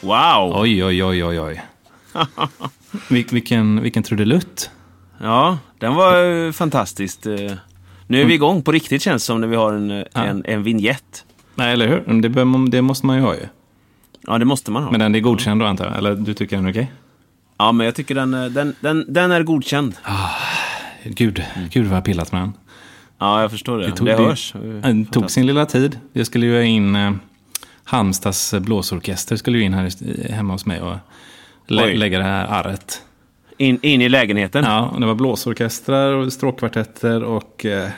Wow! Oj, oj, oj, oj, oj. Vil, vilken, vilken trudelutt. Ja, den var eh, fantastiskt. eh. Nu är vi igång på riktigt känns det som när vi har en, eh, en, en vignett. Nej, eller hur? Men Det, bör, man- det måste man ju ha ju. Ja, det måste man ha. Men den är godkänd då, antar jag? Eller du tycker den är okej? Ja, men jag tycker den, eh, den, den, den är godkänd. Gud, gud vad jag har pillat med den. Ja, jag förstår det. Det, tog- hörs. Den tog sin lilla tid. Jag skulle ju ha in eh, Halmstads blåsorkester skulle ju in här i- hemma hos mig och lä- Oj. lägga det här arret. In, in i lägenheten. Ja, och det var blåsorkestrar och stråkkvartetter och eh,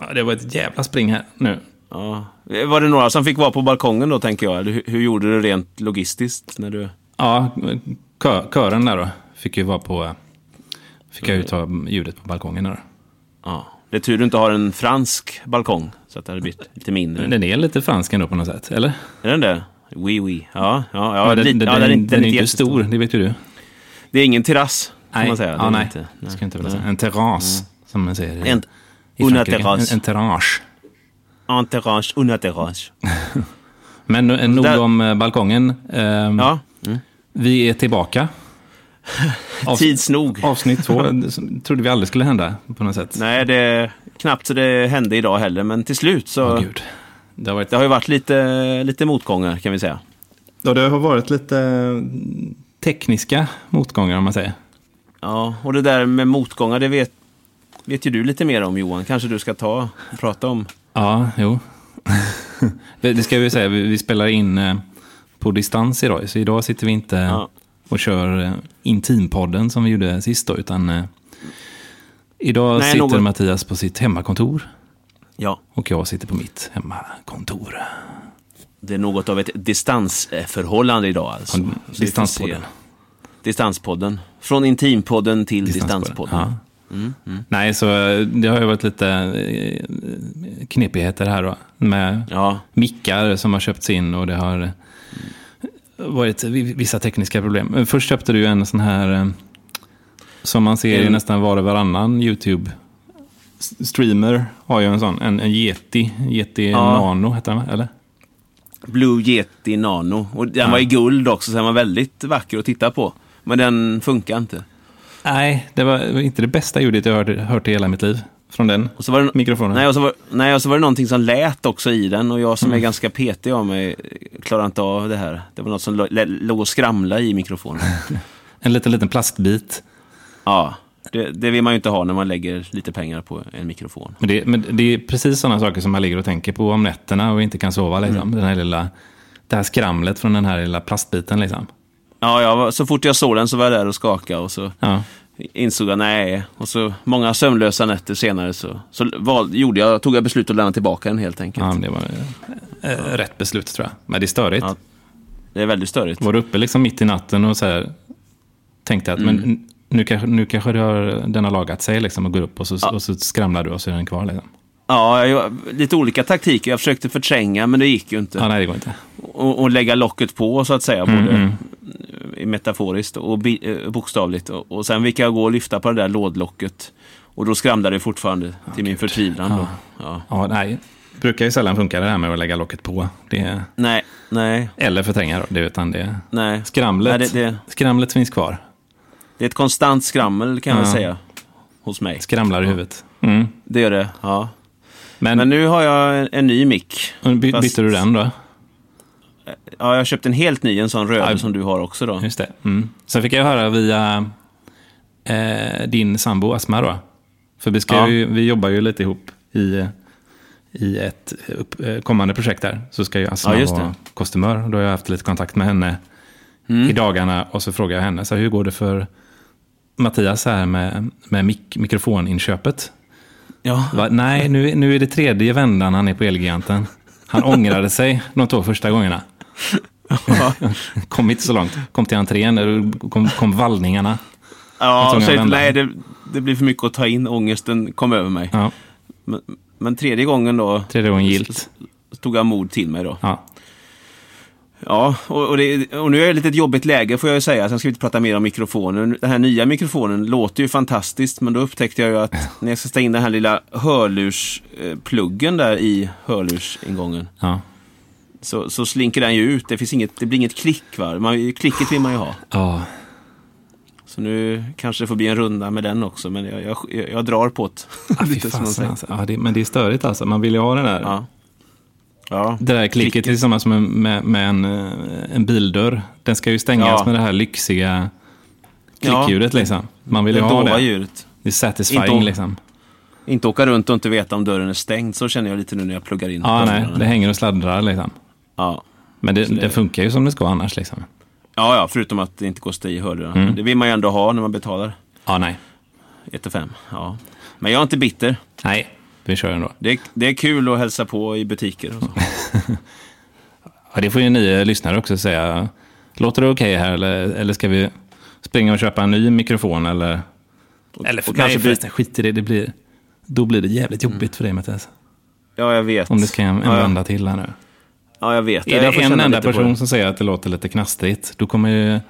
ja, det var ett jävla spring här nu. Ja. Var det några som fick vara på balkongen då, tänker jag? Eller hur, hur gjorde du rent logistiskt? När du... Ja, kö- kören där då fick ju vara på... Fick jag ju ta ljudet på balkongen där då. ja. Det är tur du inte har en fransk balkong, så att det hade blivit lite mindre. Men Den är lite fransk ändå på något sätt, eller? Är den det? Oui, oui. Ja, ja, ja, Ja, den, lite- den, ja, den, den är inte jättestor. stor, det vet ju du. Det är ingen terrass, kan man säga. Det ja, är nej. inte- Det ska jag inte vilja säga. En terrass, som man säger i, En, i una Frankrike. terrass. Mm. En, en terrage. En Mm. terrasse, una terrasse. Men eh, nog Där- om eh, balkongen. Ehm, Ja, Vi är tillbaka. Avs- tids nog. Avsnitt två det som- trodde vi aldrig skulle hända på något sätt. Nej, det är knappt så det hände idag heller, men till slut så... Åh, Gud. Det har varit det har ju varit lite, lite motgångar, kan vi säga. Ja, det har varit lite mm, tekniska motgångar om man säger. Ja, och det där med motgångar, det vet, vet ju du lite mer om Johan. Kanske du ska ta och prata om. Ja, jo. det det ska vi säga, vi vi spelar in eh, på distans idag. Så idag sitter vi inte Ja. och kör eh, intimpodden som vi gjorde sist då, utan eh, idag Nej, sitter något- Mattias på sitt hemmakontor Ja, och jag sitter på mitt hemmakontor. det är något av ett distansförhållande idag alltså. Så vi får se. Distanspodden. Distanspodden. Från intimpodden till distanspodden. Ja. Nej, så eh, det har ju varit lite eh, knepigheter här då. Med Ja. mickar som har köpts in och det har varit vi- vissa tekniska problem. Men Först köpte du ju en sån här eh, som man ser i En- nästan var och varannan YouTube. S- Streamer har ju en sån, en, en Yeti, Yeti Ja. Nano heter den va? eller? Blue Yeti Nano. Och den var i guld också, så den var väldigt vacker att titta på. Men den funkar inte. Nej, det var inte det bästa ljudet jag hört, hört i hela mitt liv från den Och så var det, mikrofonen. nej, och så var, nej, och så var det någonting som lät också i den och jag som Mm. är ganska petig av mig eh, klarar inte av det här. Det var något som lo- lä- låg och skramla i mikrofonen. En liten, liten plastbit. ja, det, det vill man ju inte ha när man lägger lite pengar på en mikrofon. Men det, men det är precis sådana saker som man ligger och tänker på om nätterna och inte kan sova. Liksom. Den här lilla, det här skramlet från den här lilla plastbiten. Liksom. Ja, jag var, så fort jag såg den så var jag där och skakade och så Ja. insåg jag nej. Och så många sömnlösa nätter senare så, så val, gjorde jag, tog jag beslutet att lämna tillbaka den helt enkelt. Ja, men det var eh, eh, rätt beslut tror jag. Men det är störigt. Ja. Det är väldigt störigt. Var du uppe liksom mitt i natten och så här, tänkte att men Mm. n- nu kanske, nu kanske det har, den har lagat sig liksom, och går upp och så, och så skramlar du och så är den kvar. Liksom. Ja, jag, lite olika taktiker. Jag försökte förtränga, men det gick ju inte. Ja, nej, det går inte. Och, och lägga locket på, så att säga. Både Mm, eh, metaforiskt och bi- eh, bokstavligt. Och, och sen fick jag gå och lyfta på det där lådlocket. Och då skramlade det fortfarande, till min förtvivlan. Då. Ja. Ja, nej. Brukar ju sällan funka det här med att lägga locket på. Det, Nej, nej, eller förtränga då, det, utan det. nej. Skramlet, Nej, det, det, skramlet finns kvar. det är ett konstant skrammel, kan jag Ja. väl säga. Hos mig. Skramlar i huvudet. Mm. Det gör det, ja. Men, Men nu har jag en, en ny mick. by, fast- bytte du den då? Ja, jag har köpt en helt ny, en sån röd Ja. som du har också då. Just det. Mm. Sen fick jag höra via eh, din sambo Asma då. För vi, ska Ja. ju, vi jobbar ju lite ihop i, i ett upp, eh, kommande projekt där. Så ska ju Asma Ja, just vara det. Mm. kostymör. Och Då har jag haft lite kontakt med henne i dagarna. Och så frågar jag henne, så här, hur går det för Mattias här med, med mik- mikrofoninköpet? Ja, Va? Nej, nu, nu är det tredje vändan han är på Elgiganten. Han ångrade sig de två första gångerna. kom inte så långt. Kom till entrén, eller kom, kom vallningarna. Ja, Jag tror så, jag vänder. nej, det, det blir för mycket att ta in. Ångesten kom över mig. Ja, Men, men tredje gången då tredje gången gillt. så tog jag mod till mig då. Ja. Ja, och, och, det, och nu är jag i ett litet jobbigt läge får jag ju säga. Sen ska vi inte prata mer om mikrofonen. Den här nya mikrofonen låter ju fantastiskt, men då upptäckte jag ju att när jag ska ställa in den här lilla hörlurspluggen där i hörlursingången, Ja. så, så slinker den ju ut. Det, finns inget, det blir inget klick. Va? Man, klicket vill man ju ha. Ja, Så nu kanske det får bli en runda med den också, men jag, jag, jag, jag drar på det. ah, fy Lite som man fasen, säger. alltså. ja det, men det är störigt alltså. Man vill ju ha den där. Ja. Ja. Det där klicket är samma som en, med, med en, eh, en bildörr. Den ska ju stängas Ja. med det här lyxiga klickljudet liksom. Man vill Det ju ha dova det. ljudet. Det är satisfying Inte om- liksom. Inte åka runt och inte veta om dörren är stängd, så känner jag lite nu när jag pluggar in. Ja, nej, hörlurarna. det hänger och sladdrar liksom. ja. Men det, det funkar ju som det ska annars liksom. Ja, ja, förutom att det inte går att stå i hörlurarna. Mm. Det vill man ju ändå ha när man betalar Ja, nej. 1 5. Ja. Men jag är inte bitter. Nej, vi kör ändå. Det är, det är kul att hälsa på i butiker. Och så. Ja, det får ju ni eh, lyssnare också säga. Låter det okej här eller, eller ska vi springa och köpa en ny mikrofon eller? eller och kanske bli- förresten, skit i det. det blir, då blir det jävligt jobbigt för dig Mattias. Ja, jag vet. Om det ska en, en ja, jag- vända till här nu. ja, jag vet. Är jag det får en känna enda lite på person det. som säger att det låter lite knastrigt, då kommer, ju,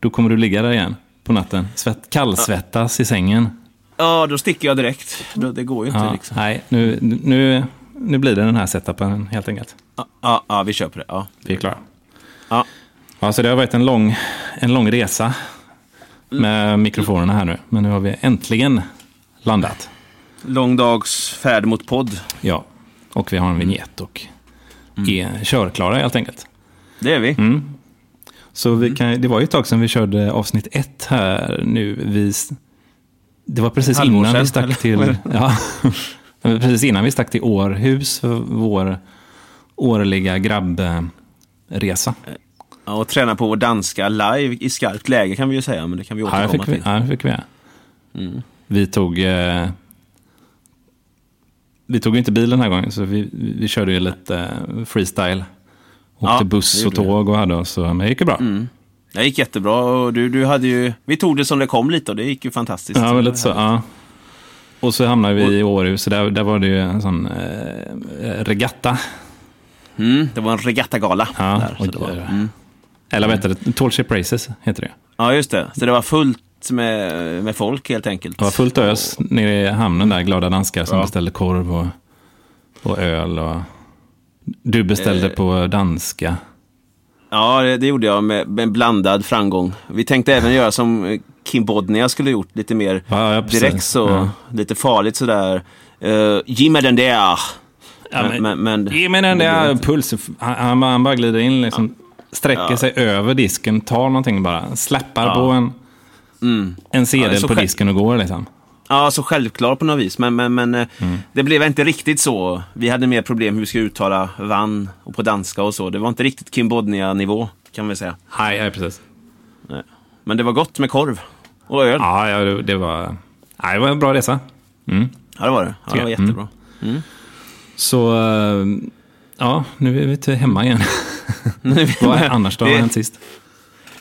då kommer du ligga där igen på natten. Svett, kallsvettas i sängen. Ja, då sticker jag direkt. Då, det går ju inte Ja, liksom. Nej, nu, nu, nu blir det den här setupen helt enkelt. Ja, ja, ja, vi köper det. Ja. Vi är klara. Ja. Ja, så det har varit en lång, en lång resa Mm. med mikrofonerna här nu. Men nu har vi äntligen landat. Lång dags färd mot podd. Ja, och vi har en vignett och Mm. är körklara helt enkelt. Det är vi. Så Mm. vi kan, det var ju ett tag sedan vi körde avsnitt ett här nu. Vi, s- det var precis Halvår innan sedan, vi stack eller? till... Ja, men precis innan vi stack till Århus för vår årliga grabbresa. Ja, och träna på att danska live i skarpt läge kan vi ju säga, men det kan vi Här återkomma fick vi. till. Mm. Här fick vi. Vi tog... Eh, vi tog ju inte bilen den här gången, så vi, vi körde ju lite eh, freestyle. Åkte Ja, det buss och gjorde vi. Mm, tåg och hade oss, så- men det gick ju bra. Det gick jättebra och du, du hade ju... Vi tog det som det kom lite och det gick ju fantastiskt. Ja, men lite så. Ja. Och så hamnade vi i Århus, så där, där var det ju en sån eh, regatta. Mm, det var en regattagala. Ja, där, så och- det var. Mm. Eller vad heter det? Tall Ship Races heter det. ja, just det. Så det var fullt med, med folk helt enkelt. Det var fullt ös nere i hamnen där, glada danskar som Ja. beställde korv och, och öl. Och... Du beställde Eh. på danska. Ja, det, det gjorde jag med, med blandad framgång. Vi tänkte även göra som eh, Kim Bodnia skulle gjort, lite mer Ja, ja, precis. direkt så, Ja. lite farligt sådär. Uh, ge mig den där! Ja, men- men, men, Ge mig den det blev där inte. pulsen. Han, han, bara- han bara glider in, liksom, sträcker Ja. sig över disken, tar någonting bara, släppar Ja. Mm. på en, en Ja, det är sedel så på själv- disken och går. Liksom. Ja, så självklar på något vis. Men, men, men eh, Mm. det blev inte riktigt så. Vi hade mer problem hur vi skulle uttala vann och på danska och så. Det var inte riktigt Kim Bodnia-nivå, kan vi säga. Nej, nej, precis. Nej. Men det var gott med korv och öl. Ja, Ja, ja det, det, var, nej, det var en bra resa. Mm. det var det. Ja, det var Tycker jag. Mm. jättebra. Så eh, ja, nu är vi till hemma igen. Vad är annars då? Vad har hänt sist?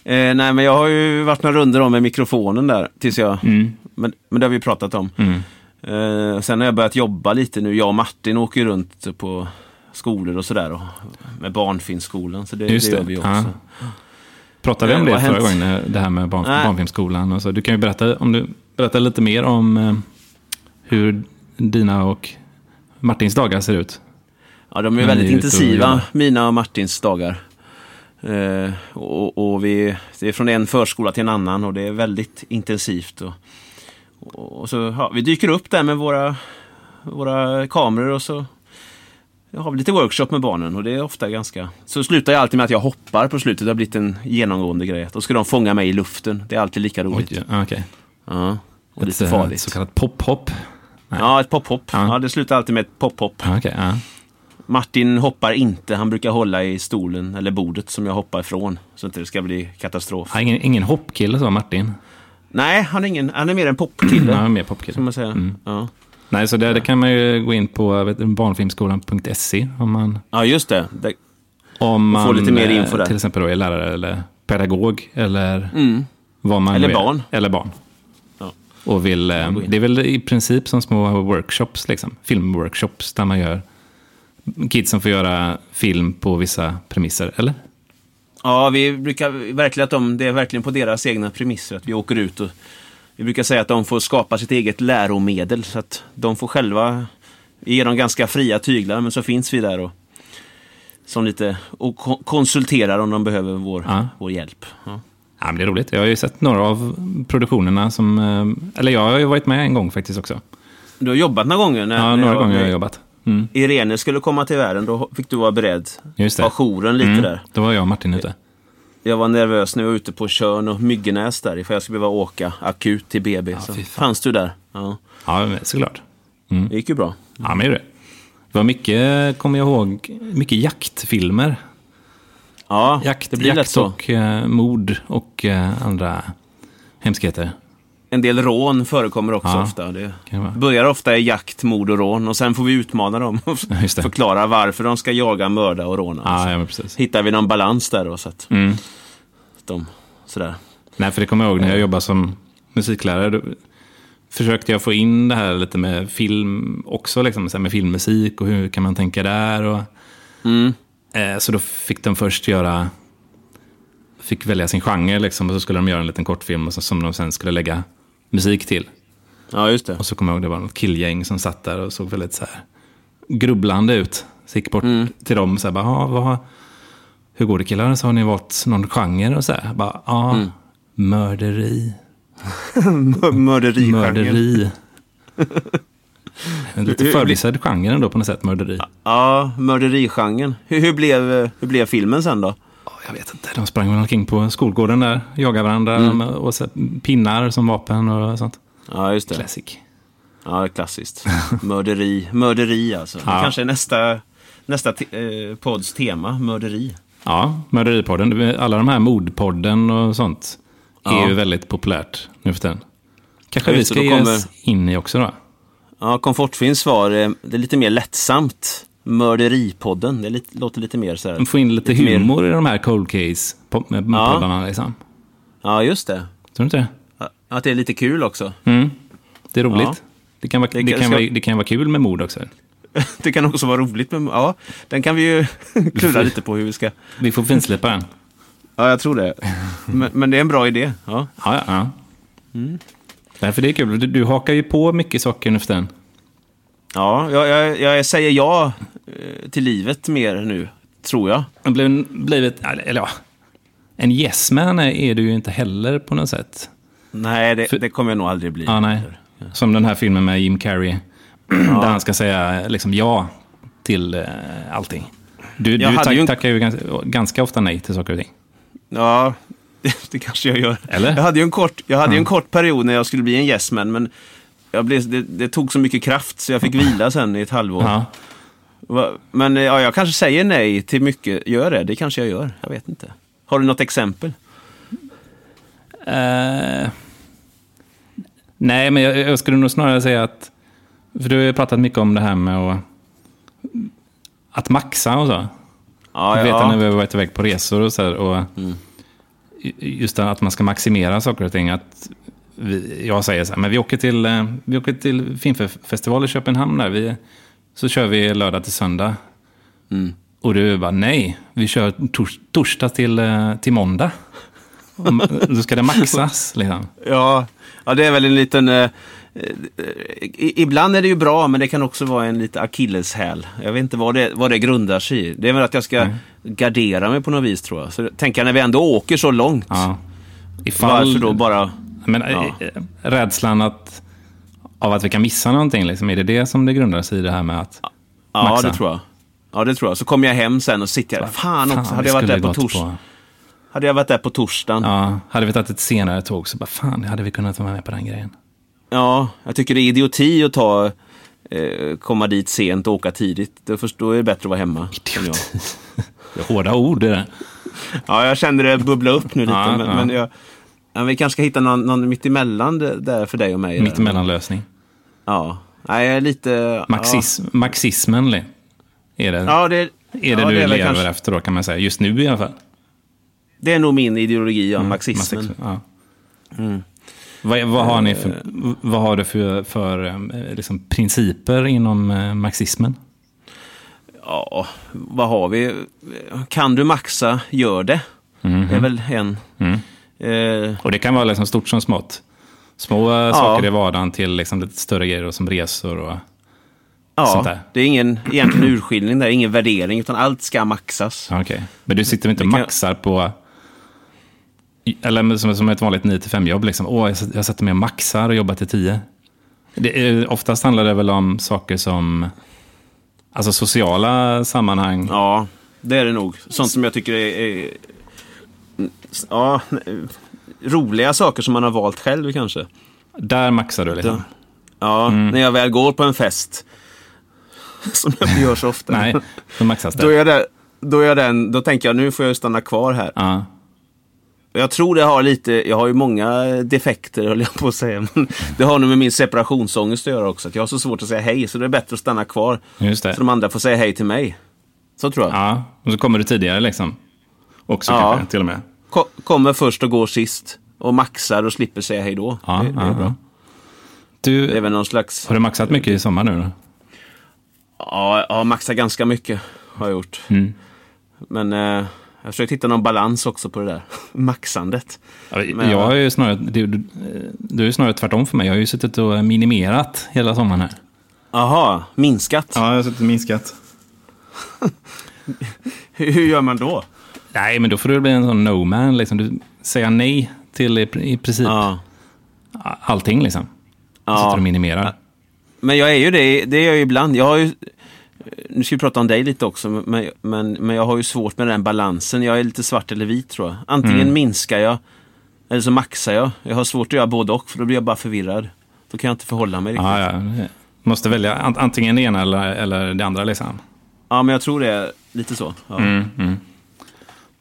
Eh, nej, men jag har ju varit några runder om med mikrofonen där, tills jag... Mm. Men, men det har vi pratat om. Eh, sen har jag börjat jobba lite nu. Jag och Martin åker ju runt på skolor och sådär. Och, med Barnfilmsskolan, så det, det Just gör det, vi också. ja. Pratade vi om Eh, det vad har förra hänt? gången, när- det här med barn, Nej. barnfilmsskolan och så. Du kan ju berätta, om du, berätta lite mer om eh, hur dina och Martins dagar ser ut. Ja, de är Men väldigt ni är ute och intensiva, jobbar. mina och Martins dagar. Eh, och, och vi, det är från en förskola till en annan och det är väldigt intensivt. Och, och så, ja, vi dyker upp där med våra, våra kameror och så har vi lite workshop med barnen och det är ofta ganska... Så slutar jag alltid med att jag hoppar på slutet, det har blivit en genomgående grej. Då ska de fånga mig i luften, det är alltid lika Oj, roligt. ja, okej. Ja, och lite Ett, eh, farligt. Så kallat pop-hop. Ja, ett pop-hopp. Ja. Ja, det slutar alltid med ett pop-hopp. Ja, okej, ja. Martin hoppar inte, han brukar hålla i stolen eller bordet som jag hoppar ifrån. Så att det ska bli katastrof. Ja, ingen, ingen hoppkille så, Martin. Nej, han är, ingen, han är mer en Ja, popkille. mer Kan popkille. man säga. Mm. Ja. Nej, så det, det kan man ju gå in på vet, du, barnfilmskolan.se om man ja, just det. det Om man få lite mer eh, info där. Mm. till exempel då är lärare eller pedagog eller vad man Eller nu är. barn. Eller barn. ja. Och vill, eh, gå in. det är väl i princip som små workshops, liksom. filmworkshops där man gör kids som får göra film på vissa premisser, eller? ja, vi brukar verkligen att de, det är verkligen på deras egna premisser att vi åker ut och vi brukar säga att de får skapa sitt eget läromedel så att de får själva, vi ger dem ganska fria tyglar men så finns vi där och som lite, och ko- konsulterar om de behöver vår, Ja. vår hjälp. Ja. Ja, men det är roligt. Jag har ju sett några av produktionerna som... eh, Eller jag har ju varit med en gång faktiskt också. Du har jobbat några gånger? När, Ja, när några jag- gånger har jag jobbat. Mm, Irene skulle komma till världen, då fick du vara beredd. just det. Ha jouren lite Mm, där. Då var jag och Martin ute. Jag var nervös när jag var ute på Tjörn och Myggenäs där, ifall jag skulle behöva åka akut till BB. så fy fan. Mm. fanns du där. Ja, Ja, men såklart. det gick ju bra. Ja, men gjorde det. Det var mycket, kommer jag ihåg, mycket jaktfilmer. Ja, Jakt, det blir jakt lätt så. och eh, mord och eh, andra hemskheter. En del rån förekommer också Ja, ofta. Det kan det vara. börjar ofta i jakt, mord och rån och sen får vi utmana dem och Ja, just det. förklara varför de ska jaga, mörda och råna. Ja, Så ja men precis. Hittar vi någon balans där då så att Mm. de sådär. Nej, för det kommer jag ihåg när jag jobbade som musiklärare. Då försökte jag få in det här lite med film också, liksom, så här med filmmusik och hur kan man tänka där. Och, Mm. eh, så då fick de först göra, fick välja sin genre liksom, och så skulle de göra en liten kortfilm och så, som de sen skulle lägga musik till. Ja, just det. Och så kommer jag ihåg det var något killgäng som satt där och såg väldigt så här grubblande ut. Så gick bort till dem och så här, bara, "Ja, vad, hur går det killar? Så har ni valt någon genre och så här. Bara, ja, mörderi. Mörderi. Mörderi. En lite förbisedd genre ändå på något sätt, mörderi. Ja, mörderigenren. Hur, hur, blev, eh, hur blev filmen sen då? Ja, Jag vet inte, de sprang väl omkring på skolgården där, jagade varandra med- och så här, pinnar som vapen och sånt. Ja, just det. Classic. Ja, klassiskt. Mörderi. Mörderi alltså. Det Ja. kanske är nästa, nästa te- eh, pods tema, mörderi. Ja, Mörderipodden. Alla de här mordpodden och sånt Ja. är ju väldigt populärt nu för tiden. Kanske Ja, vi just det, ska då ge kommer- oss in i också då? Ja, Komfortfinns svar, eh, det är lite mer lättsamt. Mörderipodden, det är lite, låter lite mer så här. Få in lite, Lite mer- humor i de här cold case-poddarna liksom. Ja, just det. Tror du inte det? Ja, Att det är lite kul också. Mm. Det är roligt. Ja. Det, kan vara, det, Det kan ska- vara, det kan vara kul med mord också. Det kan också vara roligt med... Ja, den kan vi ju klura lite på hur vi ska... Vi får finslipa den. Ja, jag tror det. Men, men det är en bra idé. Ja. Ja, ja, ja. Mm. Därför det är kul. Du, du hakar ju på mycket saker nu för tiden. Ja, jag, jag, jag säger ja eh, till livet mer nu, tror jag. Jag blev, blivit, eller ja, en yes man är- är du ju inte heller på något sätt. Nej, det, det kommer jag nog aldrig bli. Ja, Ah, nej. Som den här filmen med Jim Carrey. Där han ska säga liksom ja till eh, allting. Du, Jag du hade tack, ju en- tackar ju ganska, ganska ofta nej till saker och ting. Ja, det, det kanske jag gör. Eller? Jag hade ju en kort, jag hade ju en kort period när jag skulle bli en yesman, men jag blev, det, det tog så mycket kraft så jag fick vila sen i ett halvår. Ja. Va- Men eh, ja, jag kanske säger nej till mycket. Gör det? Det kanske jag gör. Jag vet inte. Har du något exempel? Eh, nej, men jag, jag skulle nog snarare säga att... För du har ju pratat mycket om det här med att, att maxa och så. Ja, Jag vet ja. Mm. när vi har varit iväg på resor och så här, och ju- Just det att man ska maximera saker och ting. Att vi, jag säger så här, men vi åker till, eh, vi åker till filmfestival i Köpenhamn där. Vi, så kör vi lördag till söndag. Mm. Och du bara, nej, vi kör tors, torsdag till, eh, till måndag. Och ma- Då ska det maxas liksom. Ja, ja, det är väl en liten... Eh, eh, i, ibland är det ju bra, men det kan också vara en lite akilleshäl. Jag vet inte vad det, vad det grundar sig i. Det är väl att jag ska Mm. gardera mig på något vis, tror jag. Så tänker jag, när vi ändå åker så långt, Ja. varför då bara... Men ja. rädslan att, av att vi kan missa någonting, liksom, är det det som det grundar sig i det här med att Ja, Maxa. det tror jag. Ja, det tror jag. Så kommer jag hem sen och sitter jag... Fan också, hade, vi jag varit skulle där på gått tors... hade jag varit där på torsdagen. Ja. Ja, hade vi tagit ett senare tåg så bara fan, hade vi kunnat vara med på den grejen. jag tycker det är idioti att ta... Eh, komma dit sent och åka tidigt. Då först- Då är det bättre att vara hemma. känner jag. Det är Hårda ord är det. Ja, jag kände det bubbla upp nu lite. Ja, men, ja. Men, jag, men vi kanske ska hitta någon, någon mittemellan d- där för dig och mig. där. Mittemellanlösning. Ja. Nej, jag är lite... Maxis, Marxismen li- är det, Ja, ja det, är det ja, du väl lever kanske- efter då kan man säga. Just nu i alla fall. Det är nog min ideologi, ja, Mm, marxismen. Marxismen, Ja. Mm. Vad, vad, har ni för, Eh. vad har du för, för eh, liksom, principer inom eh, marxismen? Ja, vad har vi? Kan du maxa, gör det. Mhm. Det är väl en... Mm. Eh, Och det kan vara liksom stort som smått. Små eh, saker i vardagen till liksom lite större grejer då, som resor och... sånt Ja, där? det är ingen egentligen urskiljning där, ingen värdering, utan allt ska maxas. Ja, Okej. Men du sitter väl inte och Det kan- maxar på... Eller men som, som ett vanligt 9-5-jobb. Liksom. Åh, jag, s- jag sätter mig och maxar och jobbar till 10. Det, är- oftast handlar det väl om saker som... Alltså sociala sammanhang. Ja, det är det nog. Sånt som jag tycker är, är ja, roliga saker som man har valt själv kanske. Där maxar du liksom. Ja, när jag väl går på en fest, som jag inte gör så ofta, Nej, då maxas då, är det. jag där, då, är jag den, då tänker jag nu får jag stanna kvar här. Ja. Jag tror det har lite, jag har ju många defekter höll jag på att säga. Men det har nog med min separationsångest att göra också. Att jag har så svårt att säga hej, så det är bättre att stanna kvar. Just det. Så de andra får säga hej till mig. Så tror jag. ja. Och så kommer du tidigare liksom. Också Ja. kanske, till och med. Ko- kommer först och går sist. Och maxar och slipper säga hej då. Ja, det, det ja, är bra. ja. Du, Det är väl någon slags... har du maxat mycket i sommar nu då? Ja, jag har maxat ganska mycket. Har jag gjort. Mm. Men eh, jag har försökt hitta någon balans också på det där maxandet. Men- jag har ju snarare, du, du, du är ju snarare tvärtom för mig. Jag har ju suttit och minimerat hela sommaren här. Aha, minskat. Ja, jag har suttit och minskat. Hur, hur gör man då? Nej, men då får du bli en sån no-man. Liksom. Du säger nej till i, i princip Ja. allting. Liksom. Du sitter och minimerar. Men jag är ju det, det är jag ju ibland. Jag har ju, nu ska vi prata om dig lite också, men, men, men jag har ju svårt med den balansen. Jag är lite svart eller vit tror jag. Antingen Mm. minskar jag, eller så maxar jag. Jag har svårt att göra både och, för då blir jag bara förvirrad. Då kan jag inte förhålla mig riktigt. Ja, ja. Måste välja an- antingen det ena eller, eller det andra. Liksom. Ja, men jag tror det är lite så. Ja. Mm.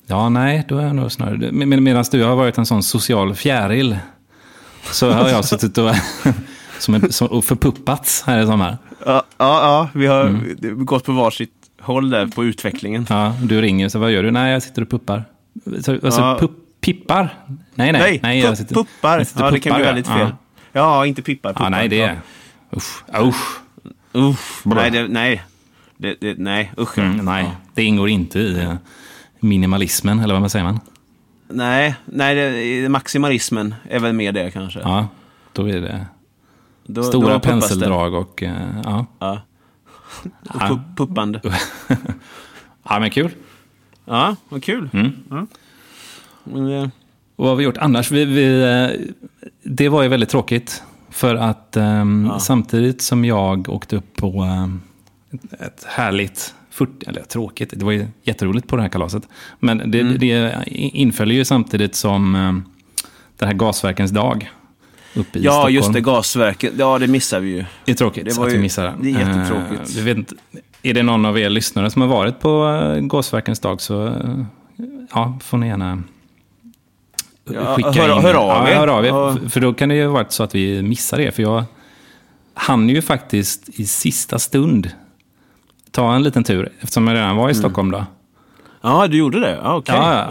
Ja, nej, då är jag nog snarare... Men medan du har varit en sån social fjäril så har jag suttit och, som en, som, och förpuppats här i sommar. Ja, ja, ja, vi har Mm. gått på varsitt håll där på utvecklingen. Ja, du ringer så vad gör du? Nej, jag sitter och puppar. Så, alltså, Ja. pupp, pippar? Nej, nej. Nej, jag pu- sitter, puppar. jag sitter ja, och det kan bli puppar, väldigt ja. fel. Ja. Ja, inte pippar. puppar. Ja, nej, det Ja. är... Usch, usch. Uff, Bra. nej, det, nej. Det, det, nej, usch. Mm, nej, det ingår inte i eh, minimalismen, eller vad man säger man? Nej, nej det, maximalismen är väl med det kanske. Ja, då är det Då- stora då puppas det. penseldrag och... eh, Ja. Ja. Och Ja. pu- puppande. ja, men kul. Ja, vad kul. Mm. Ja. Men, eh, Och vad har vi gjort annars? Vi, vi, eh, det var ju väldigt tråkigt. För att ehm, samtidigt som jag åkte upp på ehm, ett- ett härligt, 40, eller tråkigt, det var ju jätteroligt på det här kalaset. Men Mm. det, det inföll ju samtidigt som um, det här gasverkens dag uppe i ja, Stockholm. just det, gasverket. Ja, det missar vi ju. Det är tråkigt Det var att ju- vi missar den. det är jättetråkigt. Eh, vi vet inte, är det någon av er lyssnare som har varit på eh, Gasverkens dag så eh, ja, får ni gärna Ja, skicka hör- in. hör av ja, er. hör av er. Ja. F- För då kan det ju ha varit så att vi missar det. För jag hann ju faktiskt i sista stund ta en liten tur eftersom jag redan var Mm. i Stockholm då. Ja, du gjorde det? Ja, okej. Ja, Ja,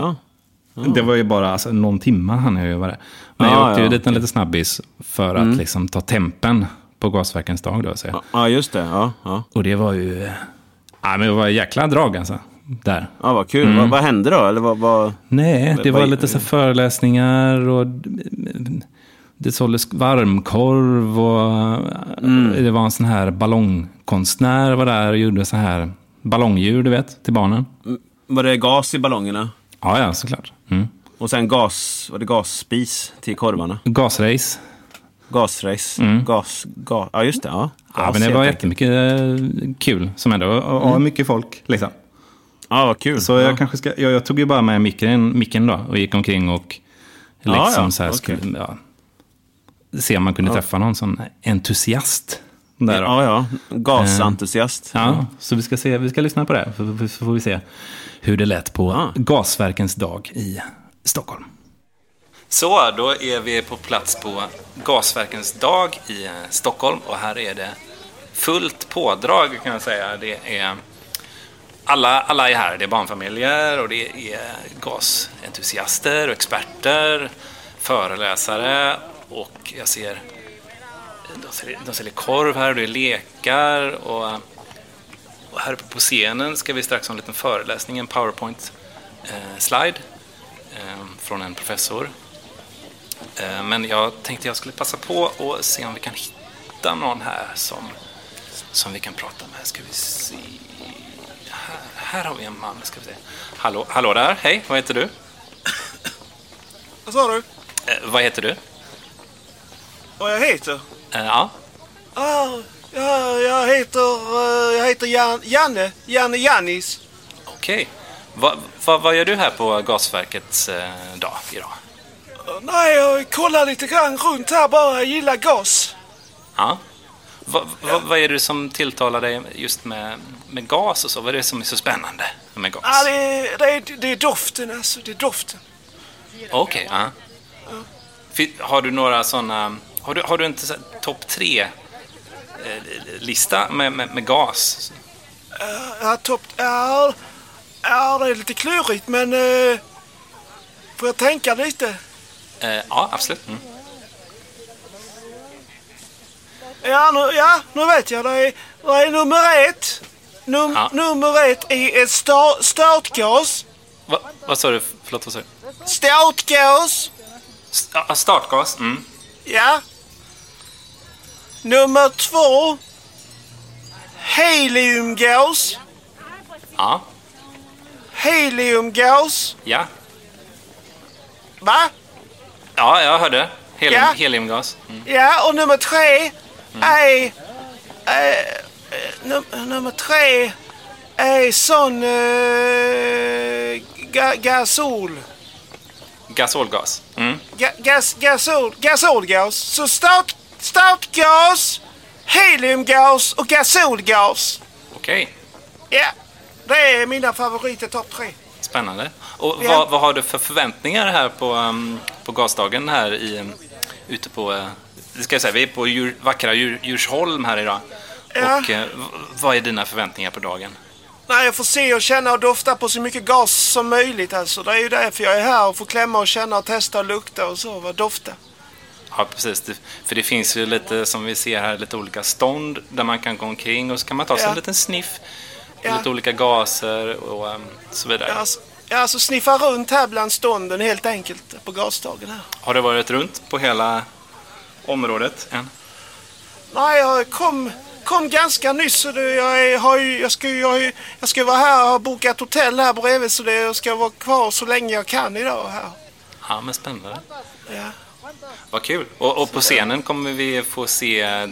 ja. Det var ju bara alltså, någon timme hann jag ju vara där. Men jag Ja, åkte ju ja. Mm. dit en liten snabbis för att liksom, ta tempen på Gasverkens dag. Då, så jag. ja. ja, just det. Ja, ja. Och det var ju... eh, Ja, men det var jäkla drag alltså. Där. ja vad kul. Mm. Vad, vad hände då? Eller vad, vad... Nej, det var vad- lite så här föreläsningar och eh, det såldes varmkorv och eh, det var en sån här ballongkonstnär var där och gjorde så här ballongdjur, du vet, till barnen. Var det gas i ballongerna? Ja, ja, såklart. Mm. Och sen gas, var det gasspis till korvarna? Gasrace. Gasrace? Gas, gas... Ja, just det. Ja, Mm. Ja, Gas, men det helt var enkelt. jättemycket eh, kul som hände. Och, och, och mycket folk, liksom. Ja, vad kul. Så jag Mm, ja. kanske ska, jag, jag tog ju bara med micken, micken då och gick omkring och liksom Ja, ja, så här okej. skulle, ja, se om man kunde träffa någon sån entusiast. Där då. Ja. Ja, ja. Eh. Gasentusiast. så vi ska, se, vi ska lyssna på det, för- för- så får vi se hur det lät på Ja. Gasverkens dag i Stockholm. Så, då är vi på plats på Gasverkens dag i eh, Stockholm och här är det fullt pådrag kan jag säga. Det är alla, alla är här. Det är barnfamiljer och det är gasentusiaster och experter, föreläsare och jag ser de säljer, de säljer korv här och det är lekar och, och här uppe på scenen ska vi strax ha en liten föreläsning, en eh, powerpoint-slide från en professor. Eh, Men jag tänkte jag skulle passa på och se om vi kan hitta någon här som som vi kan prata med. Ska vi se. Här, här har vi en man. Ska vi se. Hallå, hallå där, hej, vad heter du? Vad sa du? Eh, vad heter du? Vad jag heter? Eh, ja, Ah, ja, jag heter, eh, jag heter Jan, Janne. Janne Jannis. okej. Va, va, vad gör du här på gasverkets eh, dag idag? Eh, Nej, jag kollar lite grann runt här bara. Jag gillar gas. Ja. Va, va, vad är det som tilltalar dig just med, med gas och så? Vad är det som är så spännande med gas? Ah, det, det, är- det är doften alltså. Det är doften. Okej, ja. Fin- Har du några sådana... Har du, har du inte så här topp tre-lista med, med, med gas? Ja, topp... Ja, ja, det är lite klurigt men... eh, får jag tänka lite? Eh, ja, absolut. Mm. Ja, nu, ja, nu vet jag. Det är, det är nummer ett. Num, Ja. Nummer ett är ett sta, startgas. Va, vad sa du? Förlåt, vad sa du? Startgas. S- ja, Startgas? Mm. Ja. Nummer två. Heliumgas. Ja, Heliumgas. ja. Va? Ja, jag hörde. Helium, Ja. Heliumgas. Mm. Ja, och nummer tre är... eh, eh, num- nummer tre är sån... eh, ga, gasol. Gasolgas. Mm. Ga, gas, gasol. Gasolgas. Så start, startgas, heliumgas och gasolgas. Okej, Ja, det är mina favoriter topp tre. spännande. Och Ja. vad, vad har du för förväntningar här på, um, på gasdagen här i, um, ute på... Uh, det ska jag säga, vi är på djur, vackra djur, Djursholm här idag. Ja. Och eh, v- vad är dina förväntningar på dagen? Nej, jag får se och känna och dofta på så mycket gas som möjligt alltså. Det är ju därför jag är här och får klämma och känna och testa och lukta och så. Vad dofta. Ja, precis. Det- För det finns ju lite, som vi ser här, lite olika stånd där man kan gå omkring och så kan man ta sig Ja. en liten sniff. och Ja. Lite olika gaser och um, så vidare. Ja, Alltså, ja, alltså sniffa runt här bland stånden helt enkelt på gastagen här. Har du varit runt på hela området än? Nej, jag kom, kom ganska nyss så det, jag, är, har ju, jag, ska, ju- jag, har ju- jag ska vara här och har bokat hotell här bredvid så det, jag ska vara kvar så länge jag kan idag här. Ja, men spännande. Ja. Vad kul. Och, och på scenen kommer vi få se...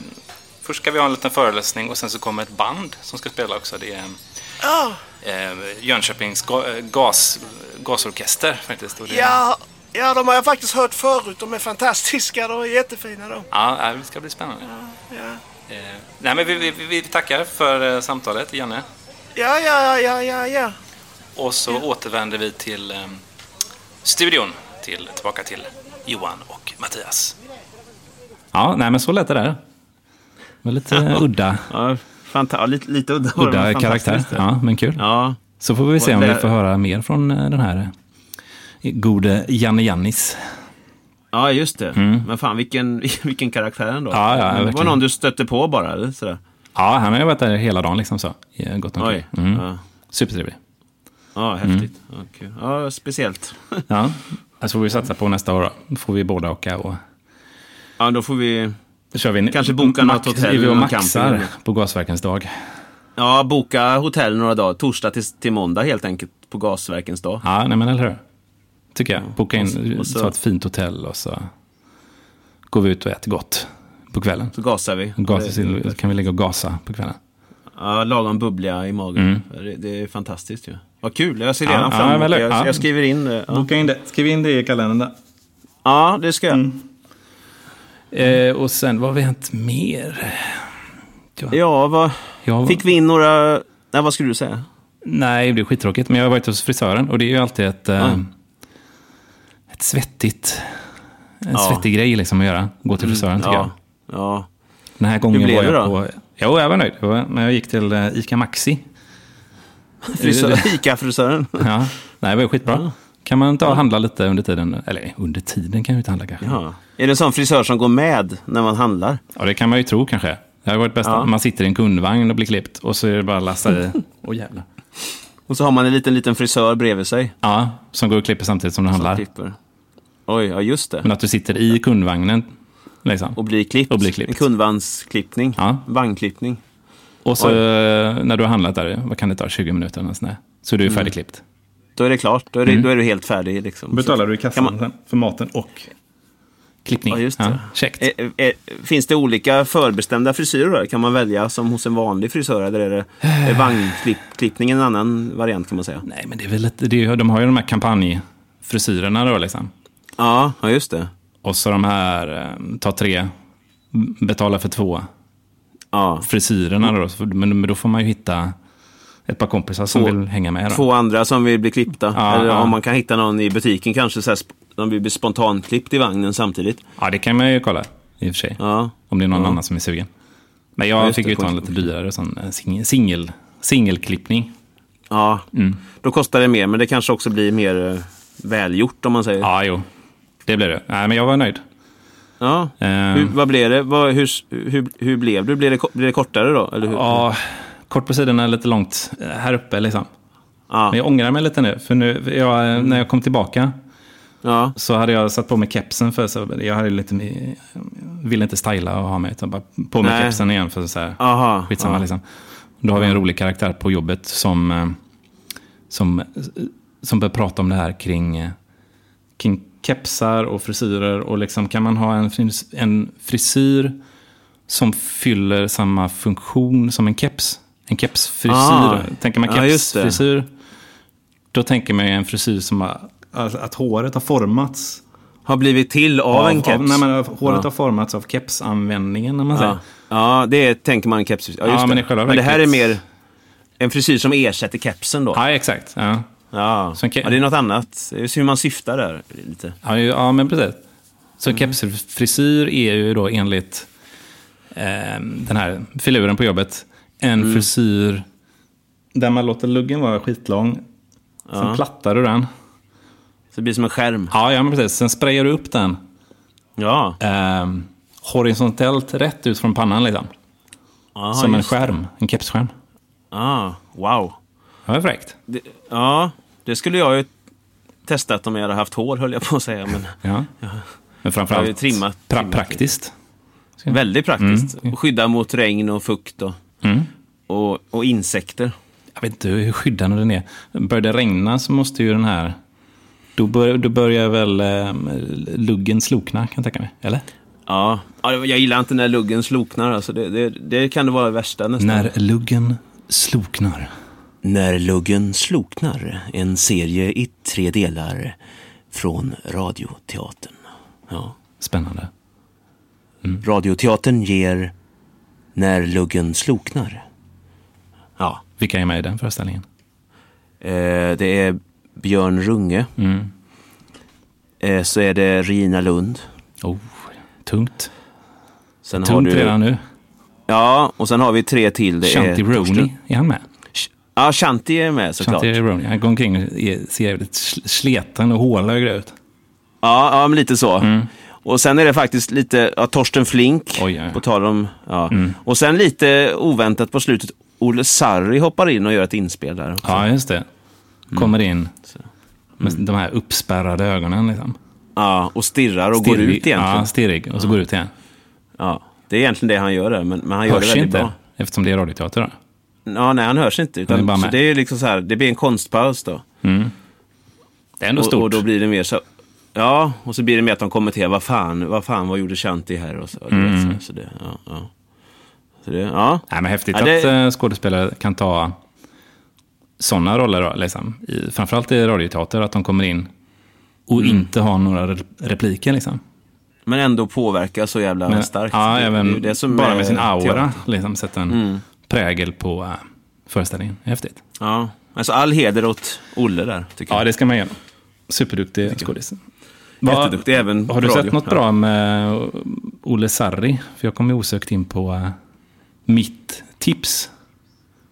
Först ska vi ha en liten föreläsning och sen så kommer ett band som ska spela också. Det är Ja, eh, Jönköpings ga, eh, gas, gasorkester faktiskt. Och det, ja, ja, de har jag faktiskt hört förut. De är fantastiska. De är jättefina de. Ja, äh, det ska bli spännande. Ja. Eh, nej, men vi, vi, vi vi tackar för eh, samtalet, Janne. Ja, ja, ja, ja, ja. Och så återvänder vi till eh, studion, till, tillbaka till Johan och Mattias. Ja, nej men så lät det där. Det var lite udda, Ja, fanta- ja, lite, lite udda. var det, men udda karaktär. fantastiskt. Ja, men kul. Ja. Så får vi se om Och vi det- får höra mer från eh, den här eh, gode Janne Jannis. ja, just det. Men fan vilken, vilken karaktär ändå. Mm. Ja, ja, Men det var verkligen. någon du stötte på bara, eller? Sådär. Ja, han har ju varit där hela dagen liksom så. eh, Gått omkring. Oj. Mm. Ja. Supertrevlig. ja, häftigt. Ja, kul. Ja, speciellt. Ja, det får vi satsa på nästa år då. Då får vi båda åka och... Ja, då får vi... Då kör vi en- Kanske boka max- något hotell Vi eller och någon camp maxar eller något. på Gasverkens dag. Ja, boka hotell några dagar. Torsdag till, till måndag helt enkelt. På Gasverkens dag. Ja, nej men eller hur? Tycker jag. Boka in, och så- ta ett fint hotell och så går vi ut och äter gott på kvällen. Så gasar vi. Gas, Det- kan vi ligga och gasa på kvällen. Ja, lagom bubbliga i magen. Det, det är fantastiskt ju. Vad kul, jag ser Mm. Ja, redan ja, fram emot eller- det. Jag, ja. jag skriver in det. Ja. in det. Skriv in det i kalendern. ja, det ska jag. Mm. Eh, och sen, vad har vi hänt mer? Ja, vad... Jag, Fick vi in några... Nej, vad skulle du säga? Nej, det är skittråkigt. Men jag har varit hos frisören och det är ju alltid ett, eh, Mm. ett svettigt... En Ja. Mm. svettig grej liksom att göra. Gå till frisören tycker jag. Ja. ja. Den här gången Hur blev var jag det då? på... Jo, jag var nöjd. Jag var- Men jag gick till eh, ICA Maxi. Frisör, Ica-frisören. Ja, nej, det var ju skitbra. Kan man ta och handla lite under tiden? Eller under tiden kan jag ju inte handla kanske. Ja, Ja. Är det en sån frisör som går med när man handlar? det kan man ju tro kanske. Det har varit bäst Ja. att man sitter i en kundvagn och blir klippt och så är det bara att lasta i. Åh jävlar. Och så har man en liten, liten frisör bredvid sig. Ja, som går och klipper samtidigt som du Som handlar. klipper. Oj, ja just det. Men att du sitter i kundvagnen. Liksom. Och blir klippt. Och blir klippt. En kundvagnsklippning. Ja. Vagnklippning. Och så eh, när du har handlat där, vad kan det ta, 20 minuter eller något sånt där, Så är du Mm. färdigklippt. Då är det klart. Då är, det, då är du helt färdig. Liksom. Betalar du i kassan Kan man- sen för maten och... Klippning. Ja, just det. Käckt. Eh, eh, finns det olika förbestämda frisyrer? Kan man välja som hos en vanlig frisör? Eller är det är vagnklippning en annan variant kan man säga? Nej, men det är väl lite, det är, ju- de har ju de här kampanjfrisyrerna då liksom. Ja, ja just det. Och så de här, eh, ta tre, m- betala för två Ja. frisyrerna då. Så- Men, men då får man ju hitta ett par kompisar som Två- vill hänga med. Då. Två andra som vill bli klippta. Ja, eller ja. om man kan hitta någon i butiken kanske. Så här, sp- de vill bli spontanklippt i vagnen samtidigt. Ja, det kan man ju kolla i och för sig. Ja. Om det är någon annan som är sugen. Men jag Ja, just fick det, ju ta en på- lite dyrare sån eh, sing- singel, singelklippning. Ja. Mm. Då kostar det mer, men det kanske också blir mer eh, välgjort om man säger. Ja, jo. Det blev det. Nej, men jag var nöjd. Ja. Eh, Hur, vad blev det? Vad, hur, hur, hur blev du? Blev det, ko- blev det kortare då? Eller hur? Ja, kort på sidorna, lite långt eh, här uppe liksom. Ja. Men jag ångrar mig lite nu, för nu, för jag, eh, när jag kom tillbaka ja. så hade jag satt på mig kepsen för så jag hade lite, eh, ville inte styla och ha mig, utan bara på mig Nej. kepsen igen för så här, Aha. skitsamma Ja. liksom. Då har vi en rolig karaktär på jobbet som, eh, som, eh, som börjar prata om det här kring, eh, kring kepsar och frisyrer och liksom kan man ha en, fris- en frisyr som fyller samma funktion som en keps? En kepsfrisyr. Ah. Tänker man Ja, just det. kepsfrisyr, då tänker man ju en frisyr som har, alltså att håret har formats. Har blivit till av, en keps? nej, men håret Ja. har formats av kepsanvändningen, när man säger. Ja. ja, det är, tänker man keps. Ja, just Ja, det. men i själva men det här är verket- mer en frisyr som ersätter kepsen då. Ja, exakt. Ja. Ja. Så en ke- ja, det är något annat. Det är hur man syftar där. Lite. Ja, ju- ja men precis. Så Mm. kepsfrisyr är ju då enligt eh, den här filuren på jobbet en Mm. frisyr där man låter luggen vara skitlång. Sen plattar du den. Så det blir som en skärm. Ja, ja men precis. Sen sprayar du upp den Ja, eh, horisontellt rätt ut från pannan liksom. Aha, som en Ah, just- skärm. En kepsskärm. Ah, wow. Ja, det är fräckt. Det, ja, det skulle jag ju testat om jag hade haft hår höll jag på att säga. Men Ja. Men Jag har ju framförallt trimmat- pra- trimmat praktiskt. väldigt praktiskt. Och skydda mot regn och fukt och, och, och insekter. Jag vet inte hur skyddande den är. Börjar det regna så måste ju den här... Då, bör, då börjar väl eh, luggen slokna, kan jag tänka mig. Eller? Ja, Ja, det- jag gillar inte när luggen sloknar. Alltså det, det, det kan det vara det värsta nästan. När luggen sloknar. När luggen sloknar, en serie i tre delar från Radioteatern. Ja. Spännande. Radioteatern ger När luggen sloknar. Ja, Vilka är med i den föreställningen? eh, det är Björn Runge. Mm. Eh, så är det Rina Lund. Oh, tungt. Sen har Tungt du, redan nu. ja, och sen har vi tre till. Det Shanti är Torsten- Rooney, är han med? Sh- Ja, Shanti är med såklart. Shanti Rooney. Han går omkring och är- ser jävligt sl- sleten och hålögd ut. Ja, ja men lite så. Och sen är det faktiskt lite ja, Torsten Flink Mm. Oj, ja, Mm. ja. på tal om... Ja. Och sen lite oväntat på slutet, Olle Sarri hoppar in och gör ett inspel där. också. Ja, just det. Kommer Mm. in med de här uppspärrade ögonen. Liksom. Ja, och stirrar och går ut egentligen. Ja, Ja. stirrig. Och så går ut igen. Det är egentligen det han gör där, men, men han gör det Hörs väldigt inte, bra. eftersom det är radioteater. Då. Ja, nej, han hörs inte. Han är Utan, bara så med. det, är liksom så här, det blir en konstpaus då. Det är ändå Och, stort. och då blir det mer så... Ja, och så blir det mer att de kommenterar, vad fan, vad fan, vad gjorde Shanti här? Och så, och du vet, Mm. så, så det, ja, ja. Så det, ja. Nej, men häftigt Ja, det- att eh, skådespelare kan ta sådana roller, då, liksom. I, framförallt i radioteater, att de kommer in och Mm. inte har några re- repliker. Liksom. Men ändå påverka så jävla Men- starkt. Ja, Det- det är ju även det som bara är med sin aura teater. Mm. liksom, sätta en prägel på eh, föreställningen. Häftigt. Ja. Alltså all heder åt Olle där, tycker Ja, jag. det ska man göra. Superduktig skådis. Vad- Jätteduktig, även Har du på sett radio. något Ja. bra med eh, Olle Sarri? För jag kom ju osökt in på eh, mitt tips.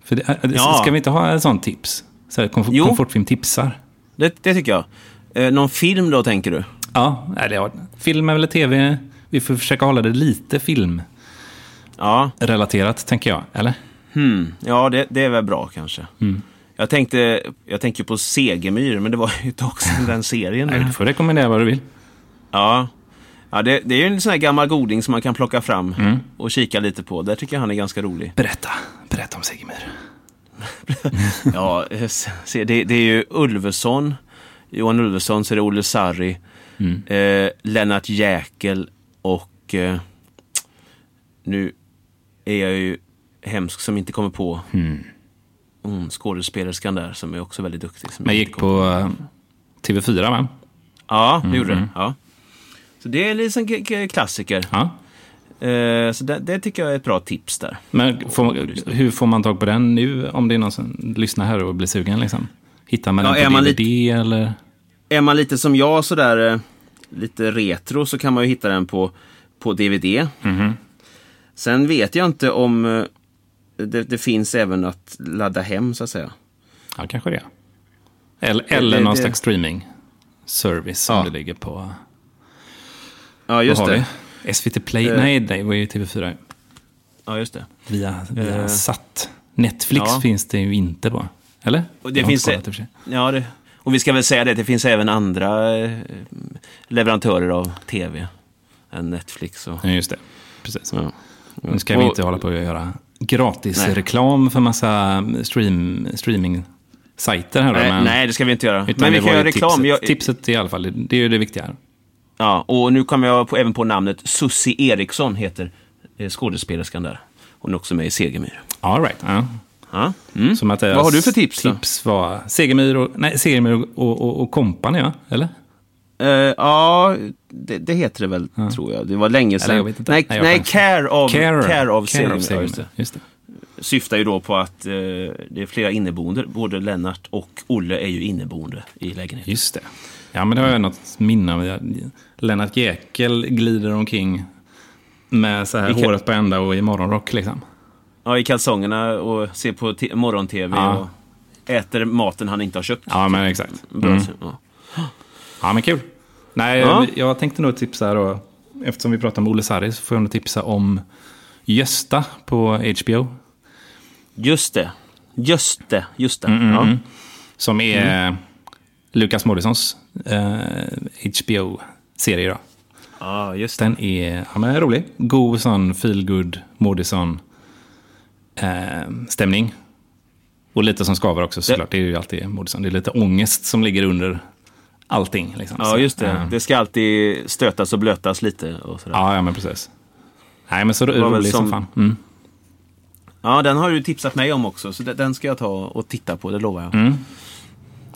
För det, eh, det- Ja. Ska vi inte ha ett sånt tips? Så här, komf- Jo. komfortfilm tipsar. Det, det tycker jag. Eh, någon film då, tänker du? Ja, nej, det har, film eller tv. Vi får försöka hålla det lite Ja, filmrelaterat, tänker jag. Eller? Mm. ja det, det är väl bra kanske. Jag tänkte jag tänker på Segemyhr, men det var ju ett tag sedan den serien. Nej, du får rekommendera vad du vill. Ja, ja det, det är ju en sån här gammal goding som man kan plocka fram och kika lite på. Där tycker jag han är ganska rolig. Berätta. berätta om Sigemyr. Ja, eh, se, det, det är ju Ulveson, Johan Ulveson, så är det Olle Sarri, eh, Lennart Jäkel och eh, nu är jag ju hemsk som inte kommer på mm, skådespelerskan där som är också väldigt duktig. som Men jag gick inte kommer- på eh, TV4, va? Ja, Mm, det gjorde det. Ja. Så det är liksom k- k- klassiker. Ja. Eh, så det, det tycker jag är ett bra tips där. Men får, hur får man tag på den nu om det är någon som lyssnar här och blir sugen? Liksom? Hittar man Ja, den på är man DVD eller? Är man lite som jag sådär eh, lite retro så kan man ju hitta den på, på DVD. Mm-hmm. Sen vet jag inte om eh, det, det finns även att ladda hem så att säga. Ja, kanske det. Eller, eller det- någon det- slags streaming service som Ja. det ligger på. Ja, just Vad har det. Eh. vi? SVT Play? Nej, det var ju TV4. Ja, just det. Via, via Eh. SAT. Netflix Ja, finns det ju inte på. Eller? Och Jag det har finns inte kollat i och för sig. ja, det. Och vi ska väl säga det, det finns även andra eh, leverantörer av tv än Netflix. Och, Ja, just det. Precis. ja. Nu ska vi Och- inte hålla på att göra gratis reklam för massa stream, streaming-sajter här. då, Nej, men- nej, det ska vi inte göra. Utan Men vi det kan var göra ju reklam. Tipset, Jag- tipset i alla fall, det, det är ju det viktiga. här. Ja, och nu kommer jag på, även på namnet Sussi Eriksson heter eh, skådespelerskan där. Hon är också med i Segemyhr. All right. Ja. Ja. Mm. Så Mattias, Vad har du för tips då? Tips var Segemyhr och, nej, Segemyhr och, och, och, och Company, ja? Eller? Eh, ja, det, det heter det väl, tror jag. Det var länge sedan. Eller jag vet inte. Nej, Nej, nej, jag kan- Care of, care, of Care Segemyhr. of Ja, just det. Just det. Syftar ju då på att eh, det är flera inneboende. Både Lennart och Olle är ju inneboende i lägenheten. Just det. Ja, men det har jag något minne av. Jag- Lennart Jäkel glider omkring med så här Vilka- håret på ända och i morgonrock liksom. Ja, i kalsongerna och ser på t- morgon-tv Ja. och äter maten han inte har köpt. Ja, Mm. men exakt. Bra, så- ja. Ja, men kul. Nej, Ja. jag tänkte nog tipsa då. Eftersom vi pratar om Olle Sarri så får jag nog tipsa om Gösta på HBO. Just det. Just det, just Mm, det. Ja. Som är Mm. eh, Lukas Moodyssons eh, HBO-serie. Då. ja, just det. Den är, ja, men den är rolig. God sån feel good Moodysson eh, stämning. Och lite som skaver också såklart. Det är ju alltid Moodysson. Det är lite ångest som ligger under allting. Liksom. Ja, Så, just det. eh, Det ska alltid stötas och blötas lite. Och sådär. Ja. Ja, ja, men precis. Nej, men så var väl rolig som som- fan. Mm. den har du tipsat mig om också, så de- den ska jag ta och titta på, det lovar jag. Mm.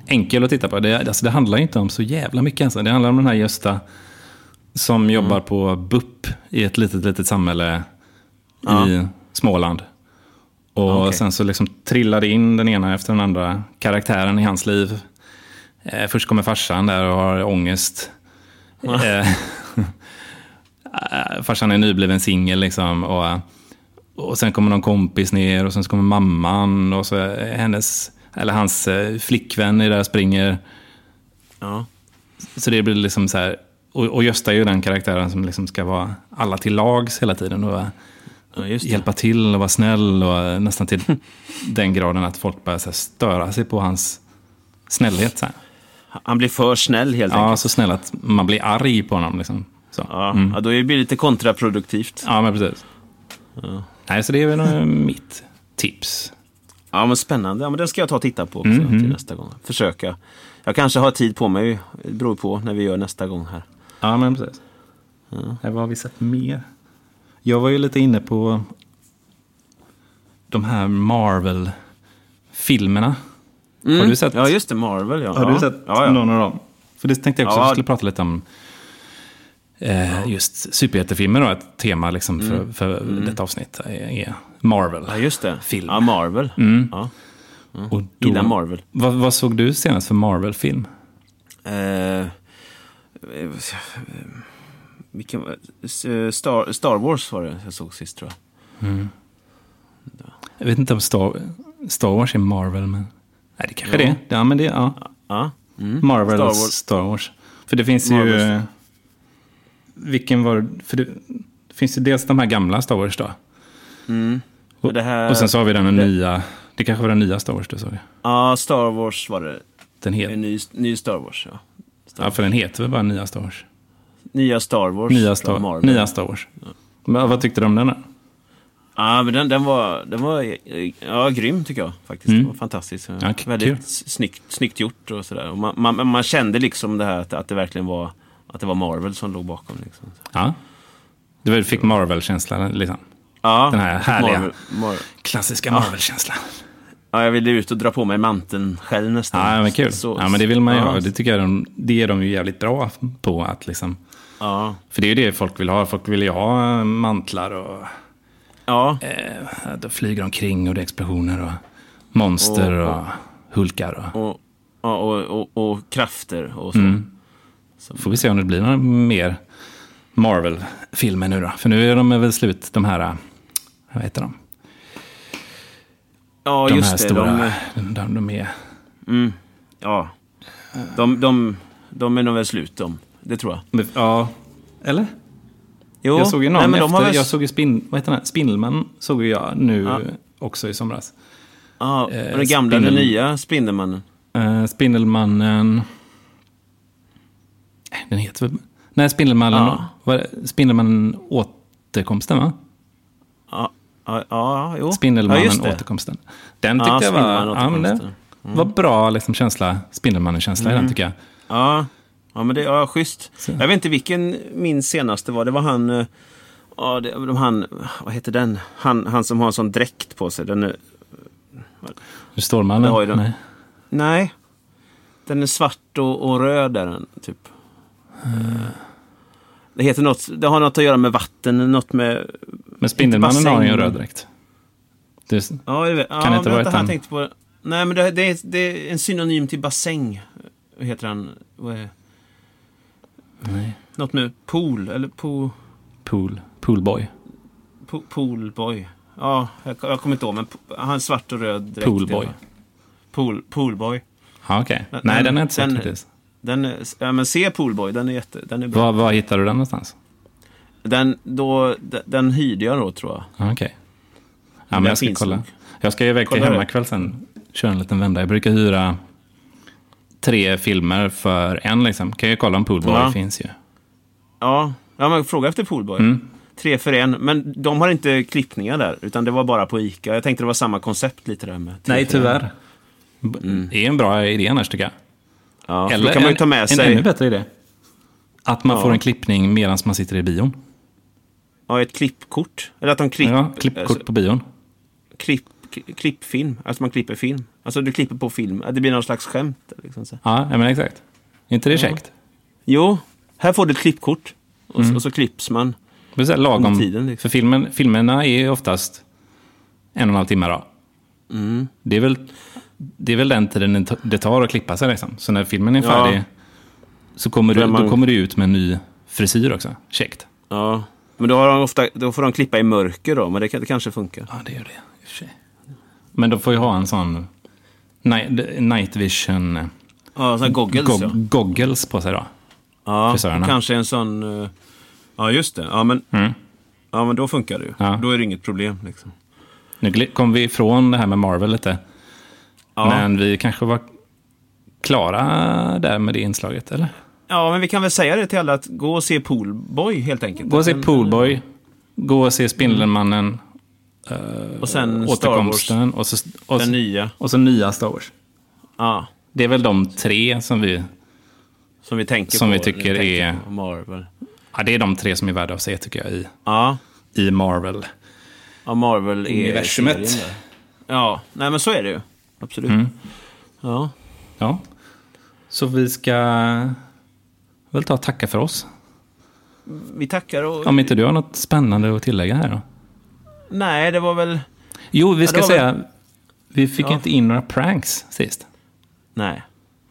enkel att titta på. Det, alltså, det handlar ju inte om så jävla mycket. Alltså. Det handlar om den här Gösta som jobbar på BUP i ett litet, litet samhälle i Småland. Och Okej. sen så liksom trillar det in den ena efter den andra karaktären i hans liv. Eh, först kommer farsan där och har ångest. Eh, Eh, farsan är nybliven singel liksom. Och, och sen kommer någon kompis ner och sen så kommer mamman och så är hennes, eller hans eh, flickvän är där och springer. Ja. Så det blir liksom så här, och, och Gösta är ju den karaktären som liksom ska vara alla till lags hela tiden och Ja, just det. hjälpa till och vara snäll och nästan till den graden att folk börjar så här störa sig på hans snällhet. Så här. Han blir för snäll helt Ja, enkelt. så snäll att man blir arg på honom liksom. Så. Ja. ja, då blir det lite kontraproduktivt. Ja, men precis. Nej, så det är väl eh, mitt tips. Ja, men spännande. Ja, men den ska jag ta och titta på Mm, också till nästa gång. Försöka. Jag kanske har tid på mig, det beror på när vi gör nästa gång här. Ja, men precis. Här, vad har vi sett mer? Jag var ju lite inne på de här Marvel-filmerna. Har du sett, Mm. Ja, just det, Marvel ja. har ja. du sett ja, ja. någon av dem? För det tänkte jag också Ja. att vi skulle prata lite om. Eh, just superhjältefilmer då, ett tema liksom för, för detta avsnitt är, är Marvel. Mm. Ja, just det. Film. Ja, Marvel. Ja. Och då- Gillar Marvel. Vad, vad såg du senast för Marvel-film? Eh, eh, vilken, var- eh, Star, Star Wars var det jag såg sist tror jag. Jag vet inte om Star, Star Wars är Marvel, men... Nej, det kanske det är. Ja, men det, ja. Ja, mm. Marvel Star och Wars. Star Wars. För det finns ju... Marvels. eh, Vilken var För det det finns ju dels de här gamla Star Wars då. Och det här, Och sen så har vi den nya... Det kanske var den nya Star Wars du såg. Ja, Star Wars var det. En Den heter... ny, ny Star Wars, ja. Ja, för den heter väl bara nya Star Wars? Nya Star Wars. Nya från Star, Marvel. nya Star Wars. Men, vad tyckte du om den då? Ja, men den, den var, den var ja, grym tycker jag faktiskt. Den var fantastisk. Mm. Ja, k- Väldigt kul. snyggt, snyggt gjort och sådär. Och man, man, man kände liksom det här att, att det verkligen var, att det var Marvel som låg bakom. Liksom. Ja. Du väl fick Marvel-känslan, liksom. Ja, Den här härliga. Marvel, Marvel. Klassiska Marvel-känslan. Ja, jag ville ut och dra på mig manteln själv nästan. Ja, men kul. Så- ja, men det vill man ju ja, ha. Det tycker jag de, det är de ju jävligt bra på att liksom. Ja, För det är ju det folk vill ha. Folk vill ju ha mantlar och ja. eh, då flyger de omkring och det är explosioner och monster och, hulkar. Och. Och, ja, och, och, och krafter och så. Mm. Får vi se om det blir några mer Marvel-filmer nu då. För nu är de väl slut, de här, eh, vad heter de? Ja, De just här det. stora, De, eh, de, de, är, ja. de, de, de är nog väl slut de. Det tror jag. ja, eller? Jo, jag såg ju någon nej, men de har efter, väl- jag såg ju spin, vad heter den? Spindelman såg ju jag nu också i somras. Ja, Eh, den gamla, Spindel- den nya Spindelmannen. Eh, Spindelmannen... Eh, Den heter väl... Nej, Spindelmannen, Ja. var det- Spindelmannen återkomsten, va? Ja, ja, ja jo. Spindelmannen ja, just det. återkomsten. Den Ja, tyckte jag var... Spindelmannen Ja, men det återkomsten. Mm. var bra liksom, känsla. Spindelmannen-känsla i den tycker jag. Ja, ja men det är ja, schysst. Jag vet inte vilken min senaste var. Det var han... eh, Ja, det, de, han vad heter den? Han, han som har en sån dräkt på sig. Den är, Nu Stålmannen? Det har ju den. Nej. nej, den är svart och, och röd är den, typ. Eh, Det heter något, det har något att göra med vatten, något med... Men Spindelmannen bassäng. har ju en röd dräkt. Det, Ja, jag vet, ja, Kan det inte men varit vänta, här den? tänkte på, nej, men det, det, är, det är en synonym till bassäng. Vad heter han? Vad är, nej. något med pool, eller pool... Pool. Poolboy. Po- Poolboy. Ja, jag, jag kommer inte ihåg, men po- han är svart och röd direkt. Poolboy. Pool, poolboy. Ja, okej. Den- Nej, den- den har jag inte sett den- faktiskt. Den är, ja, men se Poolboy, den är, jätte, den är bra. Var, var hittar du den någonstans? Den, då, den, den hyrde jag då, tror jag. Ja, Okej. Ja, men Den jag ska finns kolla. nog. Jag ska iväg till Kolla det. hemmakväll sen. Köra en liten vända. Jag brukar hyra tre filmer för en liksom. Kan jag kolla om Poolboy Ja. finns ju. Ja, ja men fråga efter Poolboy. Mm. Tre för en, men de har inte klippningar där, utan det var bara på ICA. Jag tänkte det var samma koncept lite där med. tre för en. B- Det är en bra idé annars tycker jag. Ja, Eller då kan man ju ta med en, en ännu sig bättre idé. Att man får en klippning medan man sitter i bion. ja, ett klippkort. Eller att de klipp, alltså, Ja, klippkort på bion. klipp, klippfilm. Alltså man klipper film. Alltså du klipper på film. Det blir någon slags skämt. Liksom, så. Ja, ja, men exakt. Är inte det käckt? Jo, här får du ett klippkort. Och, Mm. så, och så klipps man. Det är så här lagom. Under tiden, liksom. För filmen, filmerna är ju oftast en och en halv timme. Då. Mm. Det, är väl, det är väl den tiden det tar att klippa sig. Liksom. Så när filmen är Ja. färdig så kommer Då du, är man- då kommer du ut med en ny frisyr också. Käckt. Ja. Men då, har de ofta, då får de klippa i mörker då, men det, kan- det kanske funkar. Ja, det gör det. I och för sig. Men de får ju ha en sån night, night vision Ja, sådana goggles gog, ja. goggles på sig. Då. ja. frisörerna. Mm. Kanske en sån... eh, Ja, just det. Ja, men, ja, men då funkar det ju. Ja. Då är det inget problem. Liksom. Nu gl- kom vi ifrån det här med Marvel lite. Ja. Men vi kanske var klara där med det inslaget, eller? ja, men vi kan väl säga det till alla att gå och se Poolboy helt enkelt. Gå och se Den- Poolboy. Gå och se Spindelmannen. Och sen Star Wars, återkomsten. Och så, och, den så, nya. och så nya Star Wars. Ja, Det är väl de tre som vi... som vi tänker Som på. vi tycker när tänker är- på Marvel. Ja, det är de tre som är värda att se tycker jag i, Ja, i Marvel. ja Marvel är Universumet. Mm. serien där. Ja, nej men så är det ju. Absolut. Ja. Ja. Så vi ska väl ta och tacka för oss. Vi tackar och... Om inte du har något spännande att tillägga här då? Nej, det var väl... Jo, vi ska det var säga... Vi fick Ja. inte in några pranks sist. Nej.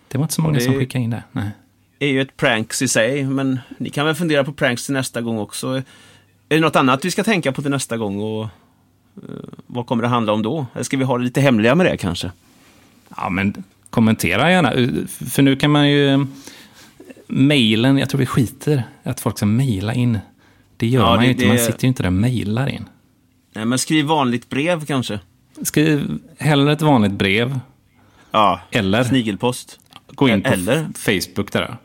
Det var inte så många det- som skickade in det. Nej. Det är ju ett pranks i sig, men ni kan väl fundera på pranks till nästa gång också. Är det något annat vi ska tänka på till nästa gång och eh, vad kommer det handla om då? Eller ska vi ha det lite hemliga med det kanske? Ja, men kommentera gärna. För nu kan man ju... Mailen, jag tror vi skiter att folk ska mejla in. Det gör Ja, man det- ju inte, det- man sitter ju inte där och mejlar in. Nej, men skriv vanligt brev kanske. Skriv hellre ett vanligt brev, Ja, Eller- snigelpost. gå in på Eller? Facebook där.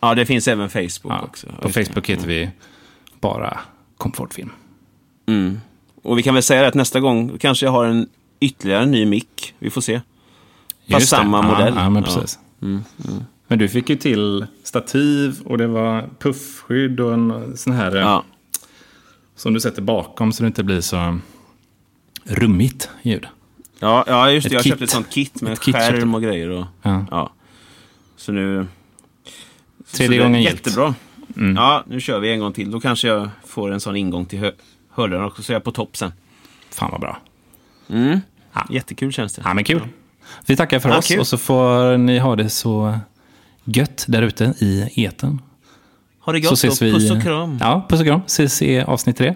Ja, det finns även Facebook Ja, också. på Facebook heter vi bara Komfortfilm. Och vi kan väl säga det att nästa gång kanske jag har en ytterligare en ny mick. Vi får se. Fast Just det. samma ja, modell. Mm, Ja, men precis. Men du fick ju till stativ och det var puffskydd och en sån här eh, Ja. som du sätter bakom så det inte blir så rummigt ljud. Ja, ja just det. Ett jag kit. köpte ett sånt kit med Ett kit köpte skärm och grejer. Och, Ja. ja. Så nu... Tredje så det- gången Mm. gillt. Jättebra. Ja, nu kör vi en gång till. Då kanske jag får en sån ingång till hö- hörlurarna också, så jag är på topp sen. Fan vad bra. Jättekul känns det. Ja, men kul. Vi tackar för Ja, oss kul. och så får ni ha det så gött där ute i etern. Ha det Så gott ses och vi. puss och kram. Ja, puss och kram. Ses i avsnitt tre.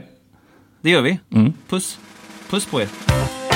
Det gör vi. Puss. Puss på er.